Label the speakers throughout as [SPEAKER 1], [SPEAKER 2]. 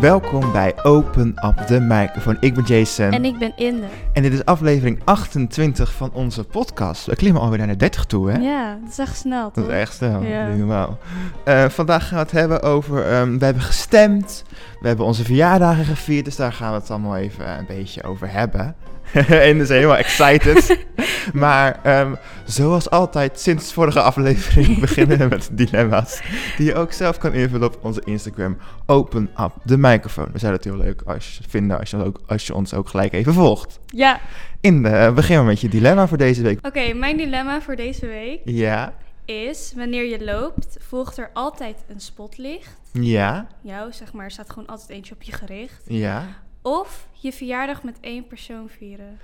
[SPEAKER 1] Welkom bij Open Up de Microphone. Ik ben Jason en,
[SPEAKER 2] En ik ben Inder.
[SPEAKER 1] dit is aflevering 28 van onze podcast. We klimmen alweer naar de 30 toe, hè?
[SPEAKER 2] Ja, dat is echt snel.
[SPEAKER 1] Dat
[SPEAKER 2] Toch?
[SPEAKER 1] is echt snel,
[SPEAKER 2] Ja.
[SPEAKER 1] niet normaal. Eh, vandaag gaan we het hebben over, ehm, we hebben gestemd, we hebben onze verjaardagen gevierd, dus daar gaan we het allemaal even eh, een beetje over hebben. en is helemaal excited. maar ehm, zoals altijd, sinds vorige aflevering beginnen we met dilemma's. Die je ook zelf kan invullen op onze Instagram. Open up de microfoon. We zouden het heel leuk als je, vinden als je, ook, als je ons ook gelijk even volgt.
[SPEAKER 2] Ja,
[SPEAKER 1] In de, eh, begin maar met je dilemma voor deze week.
[SPEAKER 2] oké. mijn dilemma voor deze week
[SPEAKER 1] Ja,
[SPEAKER 2] is: wanneer je loopt, volgt er altijd een spotlicht.
[SPEAKER 1] ja,
[SPEAKER 2] Jou, zeg maar, staat gewoon altijd eentje op je gericht.
[SPEAKER 1] ja.
[SPEAKER 2] Of je verjaardag met één persoon vieren.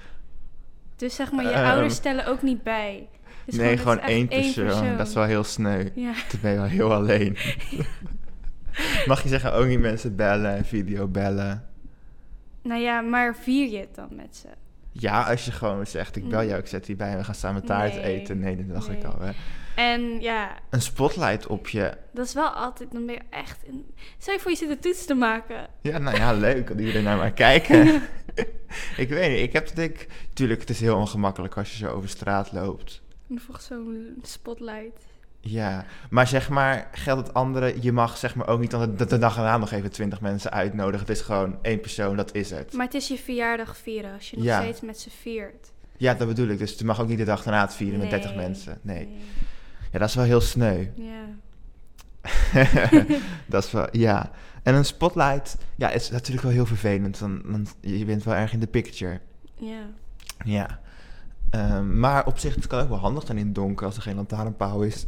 [SPEAKER 2] Dus zeg maar, je
[SPEAKER 1] Ehm.
[SPEAKER 2] ouders stellen ook niet bij. Dus
[SPEAKER 1] nee,
[SPEAKER 2] het
[SPEAKER 1] gewoon
[SPEAKER 2] is echt
[SPEAKER 1] één persoon. Dat is wel heel sneu.
[SPEAKER 2] Ja.
[SPEAKER 1] Toen ben je wel heel alleen. Mag je zeggen, ook niet mensen bellen en video bellen?
[SPEAKER 2] Nou ja, maar vier je het dan met ze?
[SPEAKER 1] Ja, als je gewoon zegt, ik bel jou, ik zet die bij en we gaan samen taart
[SPEAKER 2] Mm. Nee.
[SPEAKER 1] eten. Nee, dat dacht ik
[SPEAKER 2] Nee.
[SPEAKER 1] al. Hè.
[SPEAKER 2] En ja,
[SPEAKER 1] Een spotlight op je.
[SPEAKER 2] dat is wel altijd, dan ben je echt... In... Stel je voor, je zit een toets te maken.
[SPEAKER 1] Ja, nou ja, leuk dat iedereen naar mij kijken. ik weet niet, ik heb het ik... Tuurlijk, het is heel ongemakkelijk als je zo over straat loopt.
[SPEAKER 2] En dan volgt zo'n spotlight.
[SPEAKER 1] Ja, maar zeg maar, geldt het andere, je mag zeg maar ook niet dan de, de dag erna nog even twintig mensen uitnodigen. Het is gewoon één persoon, dat is het.
[SPEAKER 2] Maar het is je verjaardag vieren als je nog
[SPEAKER 1] Ja.
[SPEAKER 2] steeds met ze viert.
[SPEAKER 1] Ja, dat bedoel ik. Dus je mag ook niet de dag daarna het vieren met 30
[SPEAKER 2] Nee,
[SPEAKER 1] mensen. Nee. Ja, dat is wel heel sneu.
[SPEAKER 2] Ja.
[SPEAKER 1] dat is wel, ja. En een spotlight, ja, is natuurlijk wel heel vervelend. Want, want je bent wel erg in de picture.
[SPEAKER 2] ja.
[SPEAKER 1] Ja. Ehm, maar op zich, het kan ook wel handig zijn in het donker als er geen lantaarnpaal is.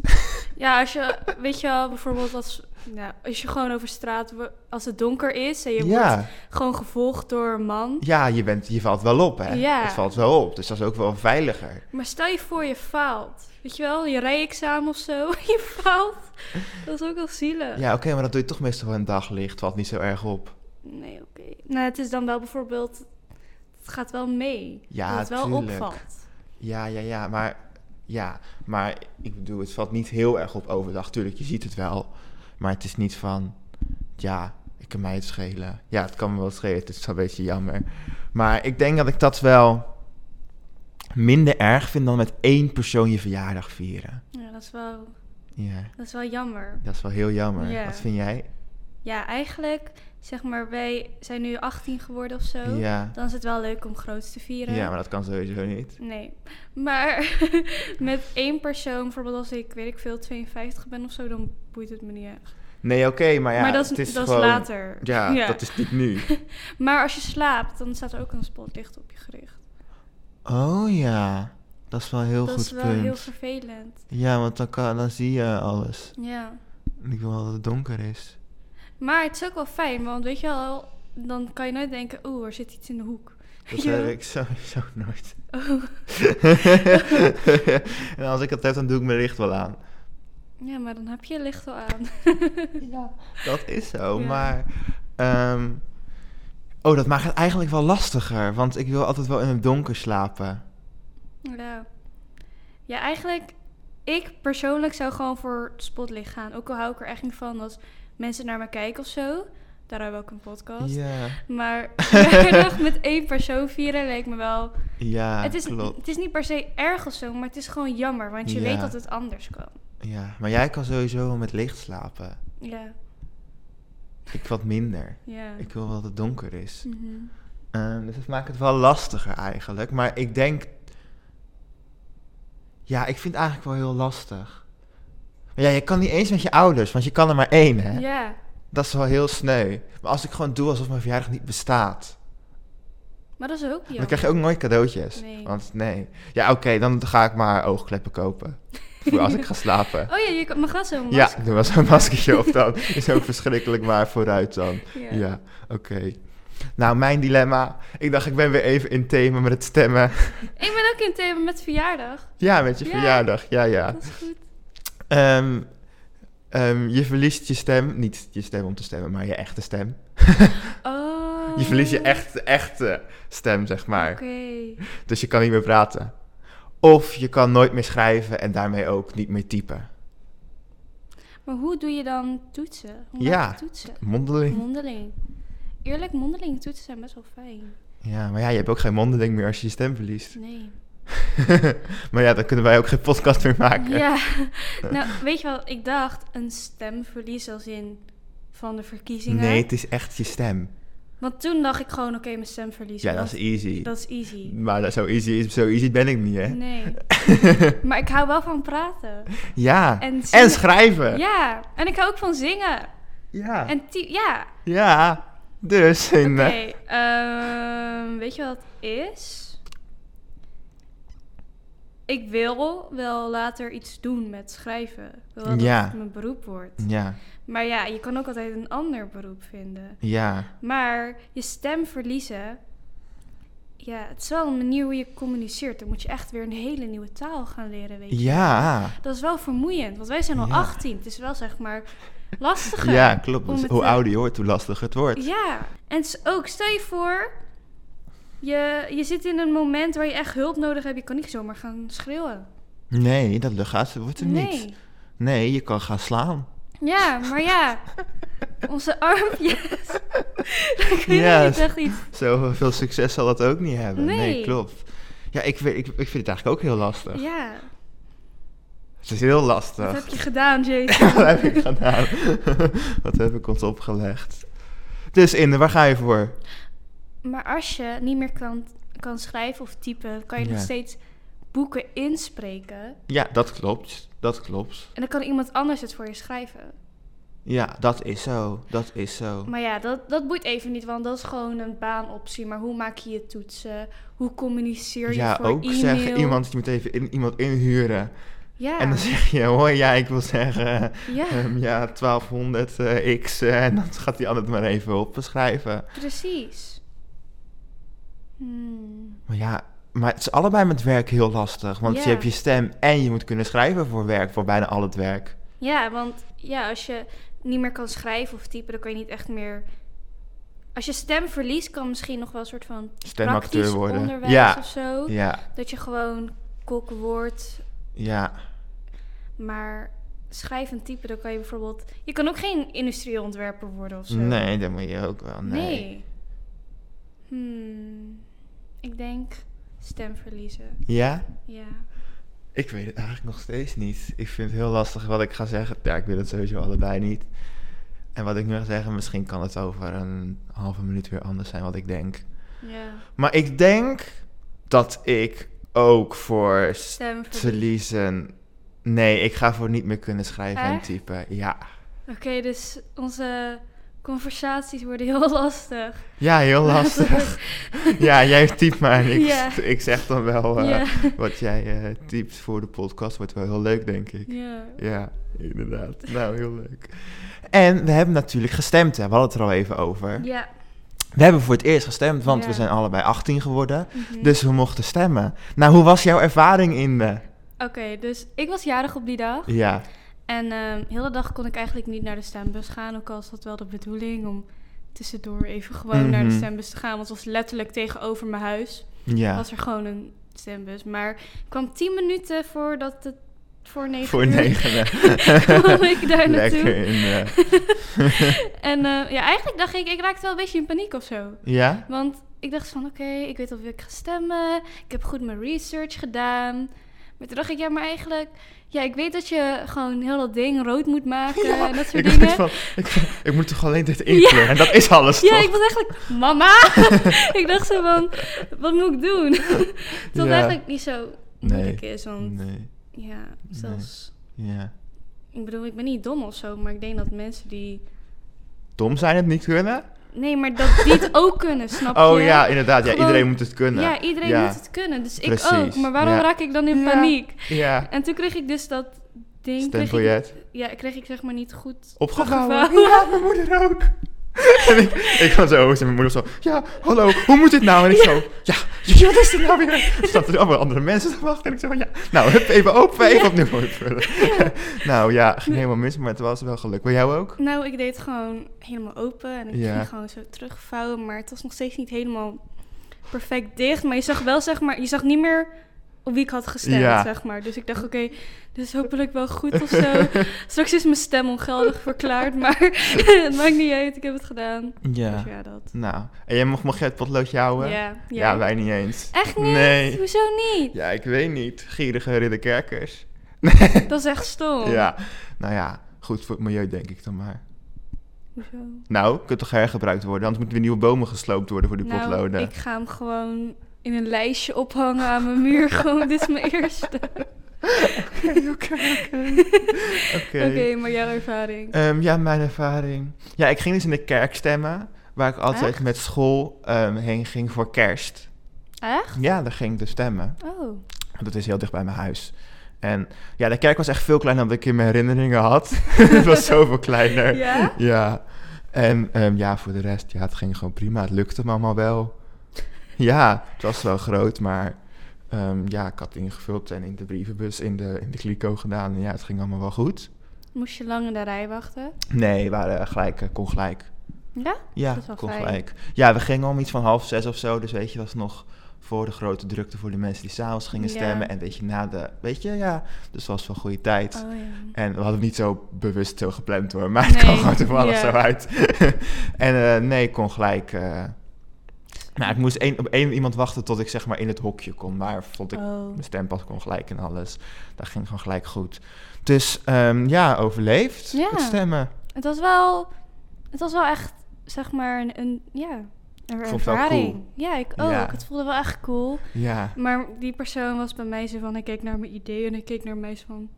[SPEAKER 2] Ja, als je, weet je wel, bijvoorbeeld als, nou, als je gewoon over straat, wo- als het donker is en je wordt
[SPEAKER 1] ja.
[SPEAKER 2] gewoon gevolgd door een man.
[SPEAKER 1] ja, je, bent, je valt wel op, hè?
[SPEAKER 2] Ja.
[SPEAKER 1] Het valt wel op, dus dat is ook wel veiliger.
[SPEAKER 2] Maar stel je voor je faalt. Weet je wel, je rijexamen of zo, je faalt. Dat is ook wel zielig.
[SPEAKER 1] Ja, oké, maar dat doe je toch meestal wel in het daglicht. Valt niet zo erg op.
[SPEAKER 2] Nee, oké. Nou, het is dan wel bijvoorbeeld, het gaat wel mee.
[SPEAKER 1] Ja,
[SPEAKER 2] dat het wel
[SPEAKER 1] tuurlijk.
[SPEAKER 2] opvalt.
[SPEAKER 1] Ja, ja, ja, maar, ja, maar ik bedoel, het valt niet heel erg op overdag. Tuurlijk, je ziet het wel. Maar het is niet van, ja, ik kan mij het schelen. Ja, het kan me wel schelen, het is wel een beetje jammer. Maar ik denk dat ik dat wel minder erg vind dan met één persoon je verjaardag vieren.
[SPEAKER 2] Ja, dat is wel,
[SPEAKER 1] Ja,
[SPEAKER 2] dat is wel jammer.
[SPEAKER 1] dat is wel heel jammer.
[SPEAKER 2] Ja.
[SPEAKER 1] Wat vind jij?
[SPEAKER 2] Ja, eigenlijk, zeg maar, wij zijn nu 18 geworden of zo.
[SPEAKER 1] Ja.
[SPEAKER 2] Dan is het wel leuk om groots te vieren.
[SPEAKER 1] ja, maar dat kan sowieso niet.
[SPEAKER 2] Nee. Maar met één persoon, bijvoorbeeld als ik, weet ik veel, 52 ben of zo, dan boeit het me niet echt.
[SPEAKER 1] Nee, oké, maar ja,
[SPEAKER 2] maar dat is,
[SPEAKER 1] het is
[SPEAKER 2] dat
[SPEAKER 1] gewoon...
[SPEAKER 2] is later.
[SPEAKER 1] Ja, dat is niet nu.
[SPEAKER 2] Maar als je slaapt, dan staat er ook een spotlicht op je gericht.
[SPEAKER 1] Oh ja, dat is wel een heel
[SPEAKER 2] dat
[SPEAKER 1] goed
[SPEAKER 2] is wel
[SPEAKER 1] punt.
[SPEAKER 2] heel vervelend.
[SPEAKER 1] Ja, want dan, kan, dan zie je alles.
[SPEAKER 2] Ja.
[SPEAKER 1] En Ik wil wel dat het donker is.
[SPEAKER 2] Maar het is ook wel fijn, want weet je wel, dan kan je nooit denken, oeh, er zit iets in de hoek.
[SPEAKER 1] Dat
[SPEAKER 2] Ja.
[SPEAKER 1] heb ik sowieso nooit.
[SPEAKER 2] Oh.
[SPEAKER 1] en als ik het heb, dan doe ik mijn licht wel aan.
[SPEAKER 2] Ja, maar dan heb je licht al aan.
[SPEAKER 1] Ja. Dat is zo,
[SPEAKER 2] Ja.
[SPEAKER 1] maar... ehm, oh, dat maakt het eigenlijk wel lastiger. Want ik wil altijd wel in het donker slapen.
[SPEAKER 2] Ja. Ja, eigenlijk, ik persoonlijk zou gewoon voor het spotlicht gaan. Ook al hou ik er echt niet van als mensen naar me kijken of zo. Daar hebben we ook een podcast.
[SPEAKER 1] Ja,
[SPEAKER 2] Maar verjaardag met één persoon vieren leek me wel...
[SPEAKER 1] ja
[SPEAKER 2] het, is,
[SPEAKER 1] klopt.
[SPEAKER 2] het is niet per se erg of zo, maar het is gewoon jammer. Want je
[SPEAKER 1] Ja.
[SPEAKER 2] weet dat het anders kan.
[SPEAKER 1] Ja, maar jij kan sowieso wel met licht slapen.
[SPEAKER 2] Ja,
[SPEAKER 1] Ik wat minder.
[SPEAKER 2] ja.
[SPEAKER 1] Ik wil wel dat het donker is.
[SPEAKER 2] Mhm.
[SPEAKER 1] Ehm, dus dat maakt het wel lastiger eigenlijk. Maar ik denk. Ja, ik vind het eigenlijk wel heel lastig. Maar ja, je kan niet eens met je ouders, want je kan er maar één, hè?
[SPEAKER 2] Ja,
[SPEAKER 1] Dat is wel heel sneu. Maar als ik gewoon doe alsof mijn verjaardag niet bestaat,
[SPEAKER 2] maar dat is ook jammer.
[SPEAKER 1] dan krijg je ook nooit cadeautjes.
[SPEAKER 2] Nee.
[SPEAKER 1] Want nee. Ja, oké, dan ga ik maar oogkleppen kopen. Voor als ik ga slapen.
[SPEAKER 2] Oh ja, je kan- mag wel zo'n
[SPEAKER 1] Ja, ik doe wel zo'n maskertje op dan. Is ook verschrikkelijk, maar vooruit dan.
[SPEAKER 2] Ja.
[SPEAKER 1] Ja, oké. Nou, mijn dilemma. Ik dacht, ik ben weer even in thema met het stemmen.
[SPEAKER 2] Ik ben ook in thema met verjaardag.
[SPEAKER 1] Ja, met je
[SPEAKER 2] Ja.
[SPEAKER 1] verjaardag. Ja, ja.
[SPEAKER 2] Dat is goed.
[SPEAKER 1] Ehm, ehm, je verliest je stem. Niet je stem om te stemmen, maar je echte stem.
[SPEAKER 2] Oh.
[SPEAKER 1] Je verliest je echt, echte stem, zeg maar.
[SPEAKER 2] Oké.
[SPEAKER 1] Dus je kan niet meer praten. Of je kan nooit meer schrijven en daarmee ook niet meer typen.
[SPEAKER 2] Maar hoe doe je dan toetsen? Hoe
[SPEAKER 1] Ja.
[SPEAKER 2] maak je toetsen?
[SPEAKER 1] Mondeling.
[SPEAKER 2] Mondeling. eerlijk, mondelinge toetsen zijn best wel fijn.
[SPEAKER 1] Ja, maar ja, je hebt ook geen mondeling meer als je je stem verliest.
[SPEAKER 2] Nee.
[SPEAKER 1] maar ja, dan kunnen wij ook geen podcast meer maken.
[SPEAKER 2] Ja, nou weet je wel, ik dacht een stemverlies als in van de verkiezingen.
[SPEAKER 1] nee, het is echt je stem.
[SPEAKER 2] Want toen dacht ik gewoon, oké, mijn stemverlies.
[SPEAKER 1] Ja, dat
[SPEAKER 2] want
[SPEAKER 1] is easy.
[SPEAKER 2] dat is easy.
[SPEAKER 1] Maar dat- zo easy, is, zo easy ben ik niet, hè?
[SPEAKER 2] Nee. maar ik hou wel van praten.
[SPEAKER 1] ja. En,
[SPEAKER 2] En, zingen.
[SPEAKER 1] schrijven. Ja.
[SPEAKER 2] Ja, en ik hou ook van zingen.
[SPEAKER 1] Ja.
[SPEAKER 2] En ty- ja,
[SPEAKER 1] Dus. In,
[SPEAKER 2] oké.
[SPEAKER 1] eh,
[SPEAKER 2] ehm, weet je wat het is? Ik wil wel later iets doen met schrijven. Ik wil wel dat
[SPEAKER 1] Ja.
[SPEAKER 2] het mijn beroep wordt.
[SPEAKER 1] Ja.
[SPEAKER 2] Maar ja, je kan ook altijd een ander beroep vinden.
[SPEAKER 1] Ja.
[SPEAKER 2] Maar je stem verliezen... Ja, het is wel een manier hoe je communiceert. Dan moet je echt weer een hele nieuwe taal gaan leren, weet je.
[SPEAKER 1] Ja.
[SPEAKER 2] Dat is wel vermoeiend, want wij zijn al
[SPEAKER 1] Ja.
[SPEAKER 2] 18. Het is wel, zeg maar, lastiger.
[SPEAKER 1] Ja, klopt.
[SPEAKER 2] om
[SPEAKER 1] Dus
[SPEAKER 2] het
[SPEAKER 1] hoe
[SPEAKER 2] te-
[SPEAKER 1] ouder je wordt, hoe lastiger het wordt.
[SPEAKER 2] Ja, en het is ook, stel je voor, je, je zit in een moment waar je echt hulp nodig hebt. Je kan niet zomaar gaan schreeuwen.
[SPEAKER 1] Nee, dat gaat, wordt er
[SPEAKER 2] nee.
[SPEAKER 1] niet. Nee, je kan gaan slaan.
[SPEAKER 2] Ja, maar ja, onze armpjes. Ik weet
[SPEAKER 1] Ja,
[SPEAKER 2] niet
[SPEAKER 1] dat-
[SPEAKER 2] echt iets.
[SPEAKER 1] Zo veel succes zal dat ook niet hebben. Nee,
[SPEAKER 2] Nee.
[SPEAKER 1] klopt. Ja, ik, weet- ik, ik vind het eigenlijk ook heel lastig.
[SPEAKER 2] Ja,
[SPEAKER 1] Het is heel
[SPEAKER 2] wat
[SPEAKER 1] lastig.
[SPEAKER 2] heb je gedaan, Jason?
[SPEAKER 1] Wat heb ik gedaan? Wat heb ik ons opgelegd? Dus Inde, waar ga je voor?
[SPEAKER 2] Maar als je niet meer kan, kan schrijven of typen, kan je nog
[SPEAKER 1] Ja.
[SPEAKER 2] steeds boeken inspreken.
[SPEAKER 1] Ja, dat klopt. Dat klopt.
[SPEAKER 2] En dan kan iemand anders het voor je schrijven.
[SPEAKER 1] Ja, dat is zo. Dat is zo.
[SPEAKER 2] Maar ja, dat, dat boeit even niet, want dat is gewoon een baanoptie. Maar hoe maak je je toetsen? Hoe communiceer je
[SPEAKER 1] Ja,
[SPEAKER 2] voor
[SPEAKER 1] ook
[SPEAKER 2] e-mail?
[SPEAKER 1] zeggen iemand, je moet even in, iemand inhuren.
[SPEAKER 2] Ja,
[SPEAKER 1] En dan zeg je, hoi, ja, ik wil zeggen,
[SPEAKER 2] ja
[SPEAKER 1] ehm, ja, 1200 eh, x. eh, en dan gaat die ander het maar even opschrijven.
[SPEAKER 2] precies. Hmm,
[SPEAKER 1] Maar ja, maar het is allebei met werk heel lastig. Want je
[SPEAKER 2] Ja.
[SPEAKER 1] hebt je stem en je moet kunnen schrijven voor werk, voor bijna al het werk.
[SPEAKER 2] Ja, want ja, als je niet meer kan schrijven of typen, dan kan je niet echt meer... Als je stem verliest, kan misschien nog wel een soort van
[SPEAKER 1] Stemacteur
[SPEAKER 2] praktisch
[SPEAKER 1] worden.
[SPEAKER 2] onderwijs
[SPEAKER 1] Ja,
[SPEAKER 2] of zo.
[SPEAKER 1] ja,
[SPEAKER 2] Dat je gewoon kok wordt,
[SPEAKER 1] ja.
[SPEAKER 2] maar schrijf en typen, dan kan je bijvoorbeeld... Je kan ook geen industrieel ontwerper worden of zo.
[SPEAKER 1] Nee, dat moet je ook wel. Nee.
[SPEAKER 2] Hmm. Ik denk stem verliezen.
[SPEAKER 1] Ja?
[SPEAKER 2] Ja.
[SPEAKER 1] Ik weet het eigenlijk nog steeds niet. Ik vind het heel lastig wat ik ga zeggen. Ja, ik wil het sowieso allebei niet. En wat ik nu ga zeggen, misschien kan het over een halve minuut weer anders zijn wat ik denk.
[SPEAKER 2] Ja.
[SPEAKER 1] Maar ik denk dat ik ook voor s-
[SPEAKER 2] Stem verliezen.
[SPEAKER 1] verliezen. Nee, ik ga voor niet meer kunnen schrijven en
[SPEAKER 2] Echt?
[SPEAKER 1] typen. Ja.
[SPEAKER 2] Oké, dus onze conversaties worden heel lastig.
[SPEAKER 1] Ja, heel lastig. ja, jij typt maar en ik,
[SPEAKER 2] Ja.
[SPEAKER 1] ik zeg dan wel eh,
[SPEAKER 2] ja.
[SPEAKER 1] wat jij eh, typt voor de podcast. Wordt wel heel leuk, denk ik.
[SPEAKER 2] ja.
[SPEAKER 1] Ja, inderdaad. Nou, heel leuk. En we hebben natuurlijk gestemd, hè. we hadden het er al even over.
[SPEAKER 2] Ja.
[SPEAKER 1] We hebben voor het eerst gestemd, want we
[SPEAKER 2] Ja.
[SPEAKER 1] zijn allebei 18 geworden.
[SPEAKER 2] mhm.
[SPEAKER 1] Dus we mochten stemmen. Nou, hoe was jouw ervaring in de...
[SPEAKER 2] Oké, dus ik was jarig op die dag.
[SPEAKER 1] Ja,
[SPEAKER 2] En ehm, heel de dag kon ik eigenlijk niet naar de stembus gaan. Ook al is dat wel de bedoeling om tussendoor even gewoon naar de
[SPEAKER 1] Mhm.
[SPEAKER 2] stembus te gaan. Want het was letterlijk tegenover mijn huis.
[SPEAKER 1] ja.
[SPEAKER 2] was er gewoon een stembus. Maar ik kwam 10 minuten voordat het voor negen
[SPEAKER 1] Voor
[SPEAKER 2] uur
[SPEAKER 1] negenen.
[SPEAKER 2] kwam ik
[SPEAKER 1] Lekker
[SPEAKER 2] daar naartoe.
[SPEAKER 1] in de...
[SPEAKER 2] En eh, ja, eigenlijk dacht ik, ik raakte wel een beetje in paniek of zo.
[SPEAKER 1] Ja?
[SPEAKER 2] Want ik dacht van, oké, ik weet al wie ik ga stemmen. Ik heb goed mijn research gedaan. Maar toen dacht ik, ja, maar eigenlijk... Ja, ik weet dat je gewoon heel dat ding rood moet maken en eh, dat soort
[SPEAKER 1] ik,
[SPEAKER 2] dingen.
[SPEAKER 1] weet van, ik, ik moet toch alleen dit inkleuren en dat is alles
[SPEAKER 2] Ja,
[SPEAKER 1] toch?
[SPEAKER 2] ik was eigenlijk, mama! ik dacht zo van, wat moet ik doen? Dat
[SPEAKER 1] Ja.
[SPEAKER 2] het eigenlijk niet zo moeilijk is, want
[SPEAKER 1] Nee,
[SPEAKER 2] ja,
[SPEAKER 1] Nee.
[SPEAKER 2] zelfs...
[SPEAKER 1] ja.
[SPEAKER 2] Ik bedoel, ik ben niet dom of zo, maar ik denk dat mensen die.
[SPEAKER 1] Dom zijn het niet kunnen?
[SPEAKER 2] Nee, maar dat die het ook kunnen, snap je?
[SPEAKER 1] Oh ja, inderdaad. Ja,
[SPEAKER 2] Gewoon-
[SPEAKER 1] iedereen moet het kunnen.
[SPEAKER 2] Ja, iedereen
[SPEAKER 1] Ja.
[SPEAKER 2] moet het kunnen, dus
[SPEAKER 1] Precies,
[SPEAKER 2] ik ook. Maar waarom
[SPEAKER 1] ja.
[SPEAKER 2] raak ik dan in
[SPEAKER 1] Ja.
[SPEAKER 2] paniek?
[SPEAKER 1] Ja.
[SPEAKER 2] En toen kreeg ik dus dat ding. Kreeg ik,
[SPEAKER 1] Stembiljet.
[SPEAKER 2] ja, kreeg ik zeg maar niet goed
[SPEAKER 1] Opgevouwen.
[SPEAKER 2] opgevouwen.
[SPEAKER 1] Ja, mijn moeder ook. en ik, ik was zo, en mijn moeder zo, ja, hallo, hoe moet dit nou? En ik zo, ja, ja, wat is dit nou weer? Er zaten allemaal andere mensen te wachten. En ik zo, van, ja, nou, hup, even open, even opnieuw opvullen. nou ja, ging helemaal mis, maar het was wel geluk. Bij jou ook?
[SPEAKER 2] Nou, ik deed het gewoon helemaal open en ik
[SPEAKER 1] Ja.
[SPEAKER 2] ging gewoon zo terugvouwen, maar het was nog steeds niet helemaal perfect dicht. Maar je zag wel, zeg maar, je zag niet meer op wie ik had gestemd,
[SPEAKER 1] Ja.
[SPEAKER 2] zeg maar. Dus ik dacht, oké, dit is hopelijk wel goed of zo. Straks is mijn stem ongeldig verklaard, maar het maakt niet uit. Ik heb het gedaan. Dus
[SPEAKER 1] Ja.
[SPEAKER 2] ja, dat.
[SPEAKER 1] Nou, en jij mocht, mocht jij het potloodje houden?
[SPEAKER 2] Ja,
[SPEAKER 1] Ja,
[SPEAKER 2] ja.
[SPEAKER 1] wij niet eens.
[SPEAKER 2] Echt niet?
[SPEAKER 1] Nee.
[SPEAKER 2] Hoezo niet?
[SPEAKER 1] Ja, ik weet niet. Gierige ridderkerkers.
[SPEAKER 2] Dat is echt stom.
[SPEAKER 1] Ja, nou ja, goed voor het milieu denk ik dan maar.
[SPEAKER 2] Hoezo?
[SPEAKER 1] Nou, kunt toch hergebruikt worden? Anders moeten weer nieuwe bomen gesloopt worden voor die
[SPEAKER 2] Nou,
[SPEAKER 1] potloden.
[SPEAKER 2] ik ga hem gewoon in een lijstje ophangen aan mijn muur. gewoon, dit is mijn eerste.
[SPEAKER 1] Oké, oké, oké.
[SPEAKER 2] Oké, maar jouw ervaring.
[SPEAKER 1] Ehm, ja, mijn ervaring. Ja, ik ging dus in de kerk stemmen, waar ik altijd met school ehm, heen ging voor kerst.
[SPEAKER 2] Echt?
[SPEAKER 1] Ja, daar ging ik dus stemmen.
[SPEAKER 2] Oh.
[SPEAKER 1] Want dat is heel dicht bij mijn huis. En ja, de kerk was echt veel kleiner dan ik in mijn herinneringen had. het was zoveel kleiner.
[SPEAKER 2] Ja?
[SPEAKER 1] Ja. En ehm, ja, voor de rest, ja, het ging gewoon prima. Het lukte me allemaal wel. Ja, het was wel groot, maar ehm, ja, ik had ingevuld en in de brievenbus in de, in de kliko gedaan. En ja, het ging allemaal wel goed.
[SPEAKER 2] Moest je lang in de rij wachten?
[SPEAKER 1] Nee, we waren gelijk, eh, kon gelijk.
[SPEAKER 2] Ja?
[SPEAKER 1] Ja,
[SPEAKER 2] Dat is wel
[SPEAKER 1] kon
[SPEAKER 2] fijn.
[SPEAKER 1] gelijk. Ja, we gingen om iets van half zes of zo. Dus weet je, was nog voor de grote drukte voor de mensen die s'avonds gingen
[SPEAKER 2] Ja.
[SPEAKER 1] stemmen. En weet je, na de, weet je, ja, dus het was wel goede tijd.
[SPEAKER 2] Oh ja.
[SPEAKER 1] En we hadden het niet zo bewust zo gepland hoor, maar het
[SPEAKER 2] Nee,
[SPEAKER 1] kwam gewoon toevallig
[SPEAKER 2] ja.
[SPEAKER 1] zo uit. en eh, nee, ik kon gelijk. eh, nou, ik moest één, op één iemand wachten tot ik zeg maar in het hokje kon. Maar vond ik
[SPEAKER 2] Oh.
[SPEAKER 1] mijn stempas kon gelijk en alles. Dat ging gewoon gelijk goed. Dus ehm, ja, overleefd
[SPEAKER 2] Ja.
[SPEAKER 1] het stemmen.
[SPEAKER 2] Het was wel, het was wel echt, zeg maar, een, een ja, een
[SPEAKER 1] vond het wel
[SPEAKER 2] ervaring. Ja, ik ook.
[SPEAKER 1] Ja.
[SPEAKER 2] Het voelde wel echt cool.
[SPEAKER 1] Ja.
[SPEAKER 2] Maar die persoon was bij mij zo van, ik keek naar mijn idee en ik keek naar mij zo van,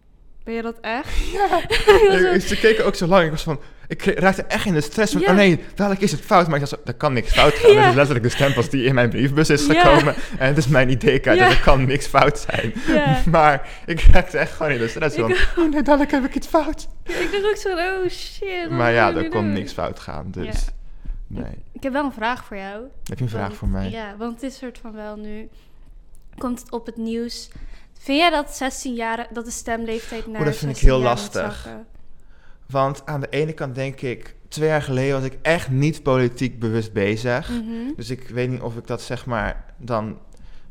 [SPEAKER 2] ben je dat echt? Ik was
[SPEAKER 1] Ik-
[SPEAKER 2] zo-
[SPEAKER 1] Ze keken ook zo lang. Ik was van, ik kreeg- raakte echt in de stress. Van,
[SPEAKER 2] Ja.
[SPEAKER 1] Oh nee, dadelijk is het fout. Maar ik dacht, zo, er kan niks fout gaan.
[SPEAKER 2] Ja.
[SPEAKER 1] Dat is letterlijk de stempels die in mijn briefbus is
[SPEAKER 2] Ja.
[SPEAKER 1] gekomen. En het is mijn ID-kaart.
[SPEAKER 2] Ja.
[SPEAKER 1] En er kan niks fout zijn.
[SPEAKER 2] Ja.
[SPEAKER 1] Maar ik raakte echt gewoon in de stress.
[SPEAKER 2] Ik
[SPEAKER 1] Van, oh nee, dadelijk heb ik iets fout.
[SPEAKER 2] ik dacht ook zo, oh shit. wat
[SPEAKER 1] Maar ja,
[SPEAKER 2] gaan we
[SPEAKER 1] er
[SPEAKER 2] nu
[SPEAKER 1] kon
[SPEAKER 2] doen?
[SPEAKER 1] niks fout gaan. Dus nee.
[SPEAKER 2] Ik heb wel een vraag voor jou.
[SPEAKER 1] Heb je een vraag
[SPEAKER 2] Want-
[SPEAKER 1] voor mij?
[SPEAKER 2] Ja, want het is soort van wel nu. Komt het op het nieuws? Vind jij dat 16 jaar, dat de stemleeftijd naar
[SPEAKER 1] Oh, dat vind ik
[SPEAKER 2] 16
[SPEAKER 1] heel
[SPEAKER 2] jaar moet
[SPEAKER 1] lastig.
[SPEAKER 2] zakken?
[SPEAKER 1] Want aan de ene kant denk ik, twee jaar geleden was ik echt niet politiek bewust bezig.
[SPEAKER 2] Mhm.
[SPEAKER 1] Dus ik weet niet of ik dat zeg maar dan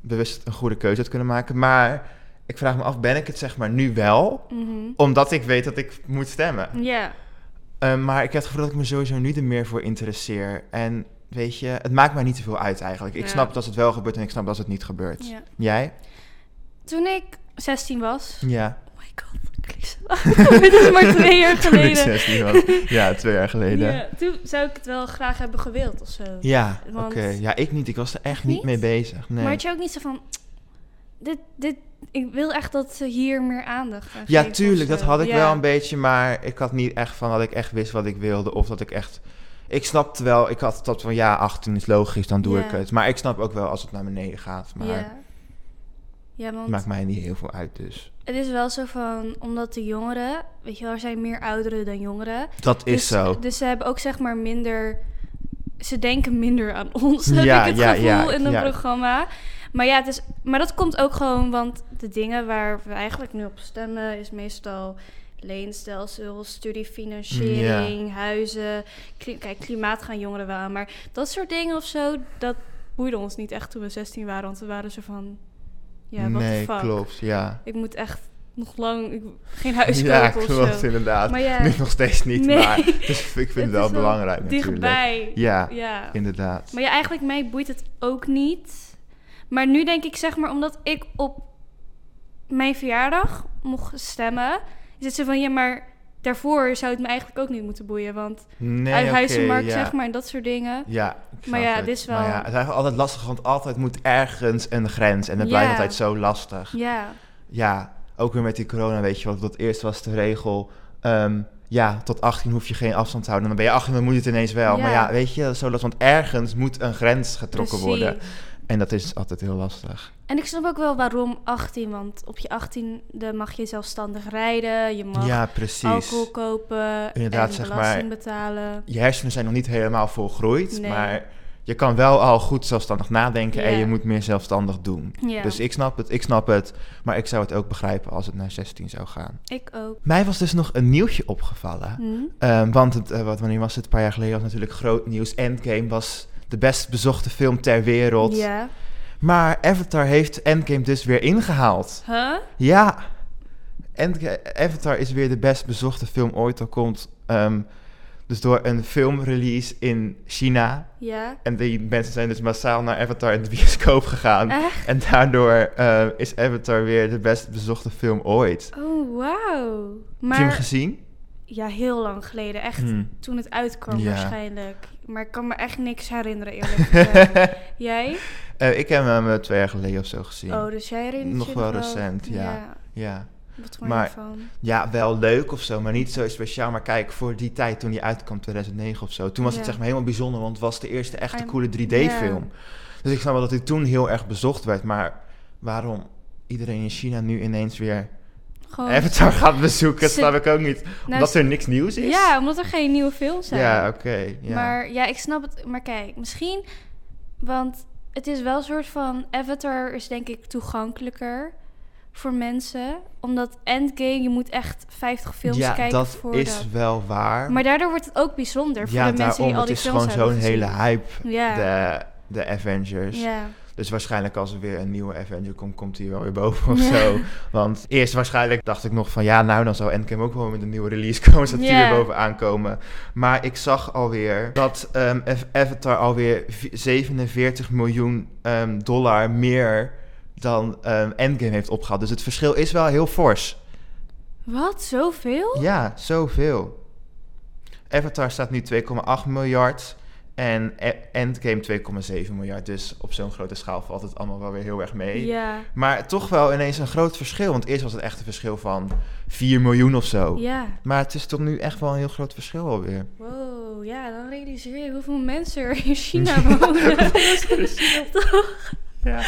[SPEAKER 1] bewust een goede keuze had kunnen maken. Maar ik vraag me af, ben ik het zeg maar nu wel?
[SPEAKER 2] Mhm.
[SPEAKER 1] Omdat ik weet dat ik moet stemmen.
[SPEAKER 2] Ja.
[SPEAKER 1] Eh, maar ik heb het gevoel dat ik me sowieso niet er meer voor interesseer. En weet je, het maakt mij niet zoveel uit eigenlijk. Ik
[SPEAKER 2] Ja.
[SPEAKER 1] snap het als het wel gebeurt en ik snap het als het niet gebeurt.
[SPEAKER 2] ja.
[SPEAKER 1] Jij?
[SPEAKER 2] Toen ik 16 was.
[SPEAKER 1] Ja.
[SPEAKER 2] Oh my god, wat klink zo oud. Het is maar twee jaar
[SPEAKER 1] Toen ik
[SPEAKER 2] geleden.
[SPEAKER 1] 16 was. Ja, twee jaar geleden. Ja,
[SPEAKER 2] Ja, toen zou ik het wel graag hebben gewild of zo.
[SPEAKER 1] oké.
[SPEAKER 2] Want-
[SPEAKER 1] Ja, ik niet. Ik was er echt niet
[SPEAKER 2] Niet?
[SPEAKER 1] mee bezig. Nee.
[SPEAKER 2] Maar had je ook niet zo van. Dit, dit, ik wil echt dat ze hier meer aandacht aan
[SPEAKER 1] Ja,
[SPEAKER 2] geven of
[SPEAKER 1] tuurlijk, dat
[SPEAKER 2] zo.
[SPEAKER 1] had ik
[SPEAKER 2] Ja.
[SPEAKER 1] wel een beetje, maar ik had niet echt van dat ik echt wist wat ik wilde of dat ik echt... Ik snapte wel, ik had dat van ja, 18 is logisch, dan doe
[SPEAKER 2] Ja.
[SPEAKER 1] ik het. Maar ik snap ook wel als het naar beneden gaat, maar
[SPEAKER 2] Ja, ja want
[SPEAKER 1] het maakt mij niet heel veel uit dus.
[SPEAKER 2] Het is wel zo van, omdat de jongeren, weet je wel, er zijn meer ouderen dan jongeren.
[SPEAKER 1] Dat is
[SPEAKER 2] dus,
[SPEAKER 1] zo.
[SPEAKER 2] Dus ze hebben ook zeg maar minder, ze denken minder aan ons, heb
[SPEAKER 1] Ja,
[SPEAKER 2] ik het
[SPEAKER 1] ja,
[SPEAKER 2] gevoel,
[SPEAKER 1] ja,
[SPEAKER 2] in een
[SPEAKER 1] ja.
[SPEAKER 2] programma. Maar ja, het is, maar dat komt ook gewoon, want de dingen waar we eigenlijk nu op stemmen is meestal leenstelsel, studiefinanciering, huizen. Kli- kijk, klimaat gaan jongeren wel aan, maar dat soort dingen of zo, dat boeide ons niet echt toen we 16 waren, want we waren zo van, ja, wat
[SPEAKER 1] nee,
[SPEAKER 2] de fuck.
[SPEAKER 1] klopt, ja.
[SPEAKER 2] Ik moet echt nog lang ik- geen huis
[SPEAKER 1] Ja,
[SPEAKER 2] kopen
[SPEAKER 1] klopt,
[SPEAKER 2] of zo.
[SPEAKER 1] inderdaad.
[SPEAKER 2] Maar ja,
[SPEAKER 1] Nu nog steeds niet,
[SPEAKER 2] Nee.
[SPEAKER 1] maar dus ik vind het,
[SPEAKER 2] is
[SPEAKER 1] wel
[SPEAKER 2] wel
[SPEAKER 1] belangrijk natuurlijk.
[SPEAKER 2] dichtbij.
[SPEAKER 1] Ja,
[SPEAKER 2] Ja.
[SPEAKER 1] inderdaad.
[SPEAKER 2] Maar ja, eigenlijk mij boeit het ook niet. Maar nu denk ik zeg maar, omdat ik op mijn verjaardag mocht stemmen, is het zo van, ja, maar daarvoor zou het me eigenlijk ook niet moeten boeien, want
[SPEAKER 1] Nee,
[SPEAKER 2] uit
[SPEAKER 1] oké,
[SPEAKER 2] huizenmarkt
[SPEAKER 1] ja.
[SPEAKER 2] zeg maar en dat soort dingen.
[SPEAKER 1] Ja, ik
[SPEAKER 2] Maar
[SPEAKER 1] snap
[SPEAKER 2] ja,
[SPEAKER 1] het.
[SPEAKER 2] dit is
[SPEAKER 1] Maar
[SPEAKER 2] wel-
[SPEAKER 1] ja, het is eigenlijk altijd lastig, want altijd moet ergens een grens. En dat
[SPEAKER 2] Ja.
[SPEAKER 1] blijft altijd zo lastig.
[SPEAKER 2] Ja,
[SPEAKER 1] Ja, ook weer met die corona, weet je wat? Dat eerst was de regel, ehm, ja, tot 18 hoef je geen afstand te houden. Dan ben je 18, dan moet je het ineens wel.
[SPEAKER 2] Ja.
[SPEAKER 1] Maar ja, weet je, dat is zo lastig, want ergens moet een grens getrokken
[SPEAKER 2] precies.
[SPEAKER 1] worden. En dat is altijd heel lastig.
[SPEAKER 2] En ik snap ook wel waarom 18, want op je 18e mag je zelfstandig rijden, je mag
[SPEAKER 1] ja, precies.
[SPEAKER 2] alcohol kopen
[SPEAKER 1] Inderdaad,
[SPEAKER 2] en
[SPEAKER 1] zeg maar,
[SPEAKER 2] belasting betalen.
[SPEAKER 1] Je hersenen zijn nog niet helemaal volgroeid,
[SPEAKER 2] Nee.
[SPEAKER 1] maar je kan wel al goed zelfstandig nadenken en
[SPEAKER 2] Ja.
[SPEAKER 1] je moet meer zelfstandig doen.
[SPEAKER 2] Ja,
[SPEAKER 1] Dus ik snap het, ik snap het. Maar ik zou het ook begrijpen als het naar 16 zou gaan.
[SPEAKER 2] ik ook.
[SPEAKER 1] Mij was dus nog een nieuwtje opgevallen.
[SPEAKER 2] Hm?
[SPEAKER 1] Ehm, want het, eh, wat, wanneer was het? Een paar jaar geleden was natuurlijk groot nieuws. Endgame was de best bezochte film ter wereld.
[SPEAKER 2] Ja.
[SPEAKER 1] Maar Avatar heeft Endgame dus weer ingehaald.
[SPEAKER 2] Huh?
[SPEAKER 1] Ja. Endga- Avatar is weer de best bezochte film ooit. Dat komt ehm, dus door een filmrelease in China.
[SPEAKER 2] Ja.
[SPEAKER 1] En die mensen zijn dus massaal naar Avatar in de bioscoop gegaan.
[SPEAKER 2] Echt?
[SPEAKER 1] En daardoor eh, is Avatar weer de best bezochte film ooit.
[SPEAKER 2] Oh, wauw.
[SPEAKER 1] Heb je hem
[SPEAKER 2] Maar
[SPEAKER 1] gezien?
[SPEAKER 2] ja, heel lang geleden. Echt
[SPEAKER 1] Hmm.
[SPEAKER 2] toen het uitkwam
[SPEAKER 1] Ja.
[SPEAKER 2] waarschijnlijk. Maar ik kan me echt niks herinneren eerlijk gezegd. Jij?
[SPEAKER 1] Eh, ik heb hem eh, twee jaar geleden of zo gezien.
[SPEAKER 2] Oh, dus jij herinnert
[SPEAKER 1] Nog
[SPEAKER 2] je
[SPEAKER 1] wel recent, ja. Ja.
[SPEAKER 2] Wat vond je
[SPEAKER 1] Maar-
[SPEAKER 2] ervan?
[SPEAKER 1] ja, wel leuk of zo, maar niet zo speciaal. Maar kijk, voor die tijd toen die uitkwam, 2009 of zo, toen was het
[SPEAKER 2] Ja.
[SPEAKER 1] zeg maar helemaal bijzonder, want het was de eerste echte
[SPEAKER 2] I'm-
[SPEAKER 1] coole 3D-film. Dus ik snap wel dat hij toen heel erg bezocht werd, maar waarom iedereen in China nu ineens weer
[SPEAKER 2] Gewoon...
[SPEAKER 1] Avatar gaat bezoeken, dat
[SPEAKER 2] Oh. Ze-
[SPEAKER 1] snap ik ook niet.
[SPEAKER 2] Nou,
[SPEAKER 1] Omdat er niks nieuws is?
[SPEAKER 2] Ja, omdat er geen nieuwe films zijn.
[SPEAKER 1] Ja, oké. ja.
[SPEAKER 2] Maar ja, ik snap het. Maar kijk, misschien... Want het is wel een soort van... Avatar is denk ik toegankelijker voor mensen. Omdat Endgame, je moet echt 50 films
[SPEAKER 1] ja,
[SPEAKER 2] kijken
[SPEAKER 1] dat
[SPEAKER 2] voordat...
[SPEAKER 1] is wel waar.
[SPEAKER 2] Maar daardoor wordt het ook bijzonder voor
[SPEAKER 1] ja,
[SPEAKER 2] de mensen die
[SPEAKER 1] daarom,
[SPEAKER 2] al
[SPEAKER 1] het
[SPEAKER 2] die
[SPEAKER 1] is
[SPEAKER 2] films
[SPEAKER 1] gewoon
[SPEAKER 2] hebben
[SPEAKER 1] zo'n hele
[SPEAKER 2] gezien.
[SPEAKER 1] hype,
[SPEAKER 2] Ja,
[SPEAKER 1] de, de Avengers.
[SPEAKER 2] ja.
[SPEAKER 1] Dus waarschijnlijk als er weer een nieuwe Avenger komt, komt hij wel weer boven of
[SPEAKER 2] Ja.
[SPEAKER 1] zo. Want eerst waarschijnlijk dacht ik nog van ja, nou dan zou Endgame ook wel met een nieuwe release komen. Zodat die
[SPEAKER 2] Ja.
[SPEAKER 1] weer bovenaan komen. Maar ik zag alweer dat ehm, Av- Avatar alweer vi- 47 miljoen ehm, dollar meer dan ehm, Endgame heeft opgehaald. Dus het verschil is wel heel fors.
[SPEAKER 2] Wat? Zoveel?
[SPEAKER 1] Ja, zoveel. Avatar staat nu 2,8 miljard. En E- Endgame 2,7 miljard. Dus op zo'n grote schaal valt het allemaal wel weer heel erg mee.
[SPEAKER 2] Ja.
[SPEAKER 1] Maar toch wel ineens een groot verschil. Want eerst was het echt een verschil van 4 miljoen of zo.
[SPEAKER 2] Ja.
[SPEAKER 1] Maar het is tot nu echt wel een heel groot verschil alweer.
[SPEAKER 2] Wow, ja, dan realiseer je hoeveel mensen er in China wonen. Toch?
[SPEAKER 1] Ja.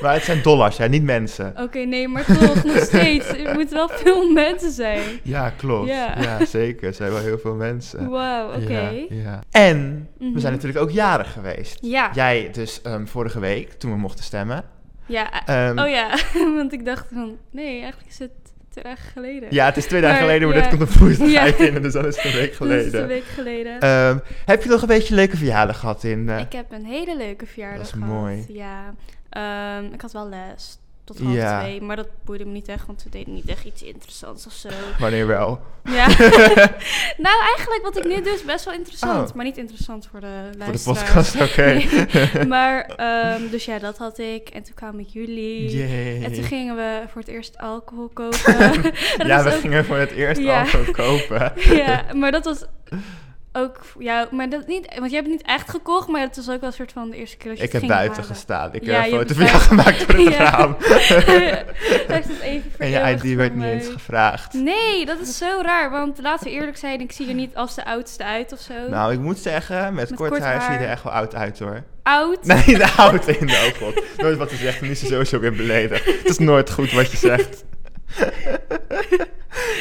[SPEAKER 1] maar het zijn dollars, hè, niet mensen.
[SPEAKER 2] Oké, nee, maar toch, nog steeds. Het moet wel veel mensen zijn.
[SPEAKER 1] Ja, klopt.
[SPEAKER 2] Ja.
[SPEAKER 1] Ja, zeker. Er zijn wel heel veel mensen.
[SPEAKER 2] Wauw, oké.
[SPEAKER 1] Ja, ja. En we
[SPEAKER 2] Mhm.
[SPEAKER 1] zijn natuurlijk ook jarig geweest.
[SPEAKER 2] Ja, ja.
[SPEAKER 1] Jij dus ehm, vorige week, toen we mochten stemmen.
[SPEAKER 2] eh,
[SPEAKER 1] Ehm,
[SPEAKER 2] oh ja, want ik dacht van, nee, eigenlijk is het twee dagen geleden.
[SPEAKER 1] Ja, het is twee dagen
[SPEAKER 2] Maar,
[SPEAKER 1] geleden, maar
[SPEAKER 2] ja.
[SPEAKER 1] dit komt op woensdag
[SPEAKER 2] Ja.
[SPEAKER 1] in. Dus dan is het een week
[SPEAKER 2] Dat is
[SPEAKER 1] geleden.
[SPEAKER 2] een week geleden.
[SPEAKER 1] Ehm, heb je nog een beetje een leuke verjaardag gehad in... eh,
[SPEAKER 2] Ik heb een hele leuke verjaardag
[SPEAKER 1] Dat is
[SPEAKER 2] gehad.
[SPEAKER 1] mooi.
[SPEAKER 2] Ja. Ehm, ik had wel les tot half
[SPEAKER 1] Ja.
[SPEAKER 2] twee, maar dat boeide me niet echt, want we deden niet echt iets interessants of zo.
[SPEAKER 1] Wanneer wel?
[SPEAKER 2] Ja. nou, eigenlijk wat ik nu doe is best wel interessant,
[SPEAKER 1] Oh.
[SPEAKER 2] maar niet interessant voor de
[SPEAKER 1] Voor de
[SPEAKER 2] luisteraars.
[SPEAKER 1] podcast, oké.
[SPEAKER 2] Nee. maar, ehm, dus ja, dat had ik. En toen kwamen jullie.
[SPEAKER 1] Yay.
[SPEAKER 2] En toen gingen we voor het eerst alcohol kopen. En
[SPEAKER 1] ja, we
[SPEAKER 2] dat was ook-
[SPEAKER 1] gingen voor het eerst
[SPEAKER 2] Ja.
[SPEAKER 1] alcohol kopen.
[SPEAKER 2] Ja, maar dat was ook... Ja, maar dat niet... Want jij hebt het niet echt gekocht, maar het was ook wel een soort van de eerste keer dat je
[SPEAKER 1] Ik
[SPEAKER 2] het
[SPEAKER 1] heb
[SPEAKER 2] ging
[SPEAKER 1] buiten
[SPEAKER 2] halen.
[SPEAKER 1] gestaan. Ik
[SPEAKER 2] Ja,
[SPEAKER 1] heb
[SPEAKER 2] je
[SPEAKER 1] een foto
[SPEAKER 2] hebt
[SPEAKER 1] van jou gemaakt voor het
[SPEAKER 2] Ja.
[SPEAKER 1] raam.
[SPEAKER 2] Echt het even
[SPEAKER 1] en je
[SPEAKER 2] vereeuwigd
[SPEAKER 1] ID werd
[SPEAKER 2] voor
[SPEAKER 1] niet
[SPEAKER 2] mij.
[SPEAKER 1] eens gevraagd.
[SPEAKER 2] Nee, dat is zo raar. Want laten we eerlijk zijn, ik zie er niet als de oudste uit of zo.
[SPEAKER 1] Nou, ik moet zeggen, met,
[SPEAKER 2] Met
[SPEAKER 1] kort,
[SPEAKER 2] kort
[SPEAKER 1] haar, zie je
[SPEAKER 2] haar.
[SPEAKER 1] er echt wel oud uit hoor.
[SPEAKER 2] Oud.
[SPEAKER 1] Nee, de oud in de oh god. Nooit wat ze zegt, nu is ze sowieso weer beledigd. Het is nooit goed wat je zegt.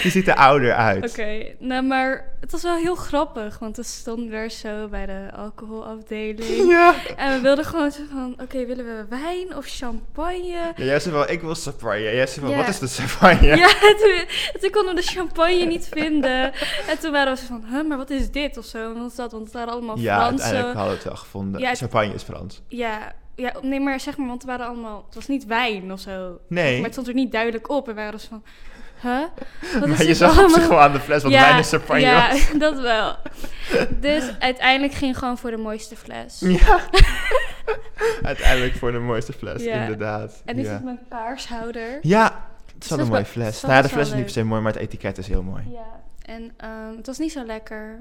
[SPEAKER 1] je ziet er ouder uit.
[SPEAKER 2] Oké, nou maar het was wel heel grappig, want we stonden daar zo bij de alcoholafdeling.
[SPEAKER 1] Ja.
[SPEAKER 2] En we wilden gewoon zo van, oké, willen we wijn of champagne?
[SPEAKER 1] ja. Jij zei wel, ik wil champagne. Jij zei wel,
[SPEAKER 2] Ja.
[SPEAKER 1] wat is de champagne?
[SPEAKER 2] Ja, toen, toen konden we de champagne niet vinden. En toen waren we zo van, huh, maar wat is dit of zo? En wat is dat? Want het waren allemaal
[SPEAKER 1] Ja, uiteindelijk
[SPEAKER 2] Fransen.
[SPEAKER 1] hadden we het wel gevonden.
[SPEAKER 2] Ja, het-
[SPEAKER 1] Champagne is Frans.
[SPEAKER 2] Ja, ja, nee, maar zeg maar, want het waren allemaal, het was niet wijn of zo.
[SPEAKER 1] Nee.
[SPEAKER 2] Maar het stond er niet duidelijk op. En we waren zo van, huh? Wat
[SPEAKER 1] Maar
[SPEAKER 2] is
[SPEAKER 1] je
[SPEAKER 2] dit
[SPEAKER 1] zag op
[SPEAKER 2] allemaal?
[SPEAKER 1] zich wel aan de fles wat wijn en champagne
[SPEAKER 2] ja,
[SPEAKER 1] was.
[SPEAKER 2] dat wel. Dus uiteindelijk ging ik gewoon voor de mooiste fles.
[SPEAKER 1] Ja. Uiteindelijk voor de mooiste fles,
[SPEAKER 2] Ja.
[SPEAKER 1] inderdaad.
[SPEAKER 2] En is
[SPEAKER 1] ja.
[SPEAKER 2] het mijn kaarshouder.
[SPEAKER 1] ja, het is wel
[SPEAKER 2] dat
[SPEAKER 1] een mooie
[SPEAKER 2] wa-
[SPEAKER 1] fles.
[SPEAKER 2] dat
[SPEAKER 1] Nou ja, de
[SPEAKER 2] is wel
[SPEAKER 1] fles is niet per
[SPEAKER 2] leuk.
[SPEAKER 1] se mooi, maar het etiket is heel mooi.
[SPEAKER 2] Ja. En ehm, het was niet zo lekker.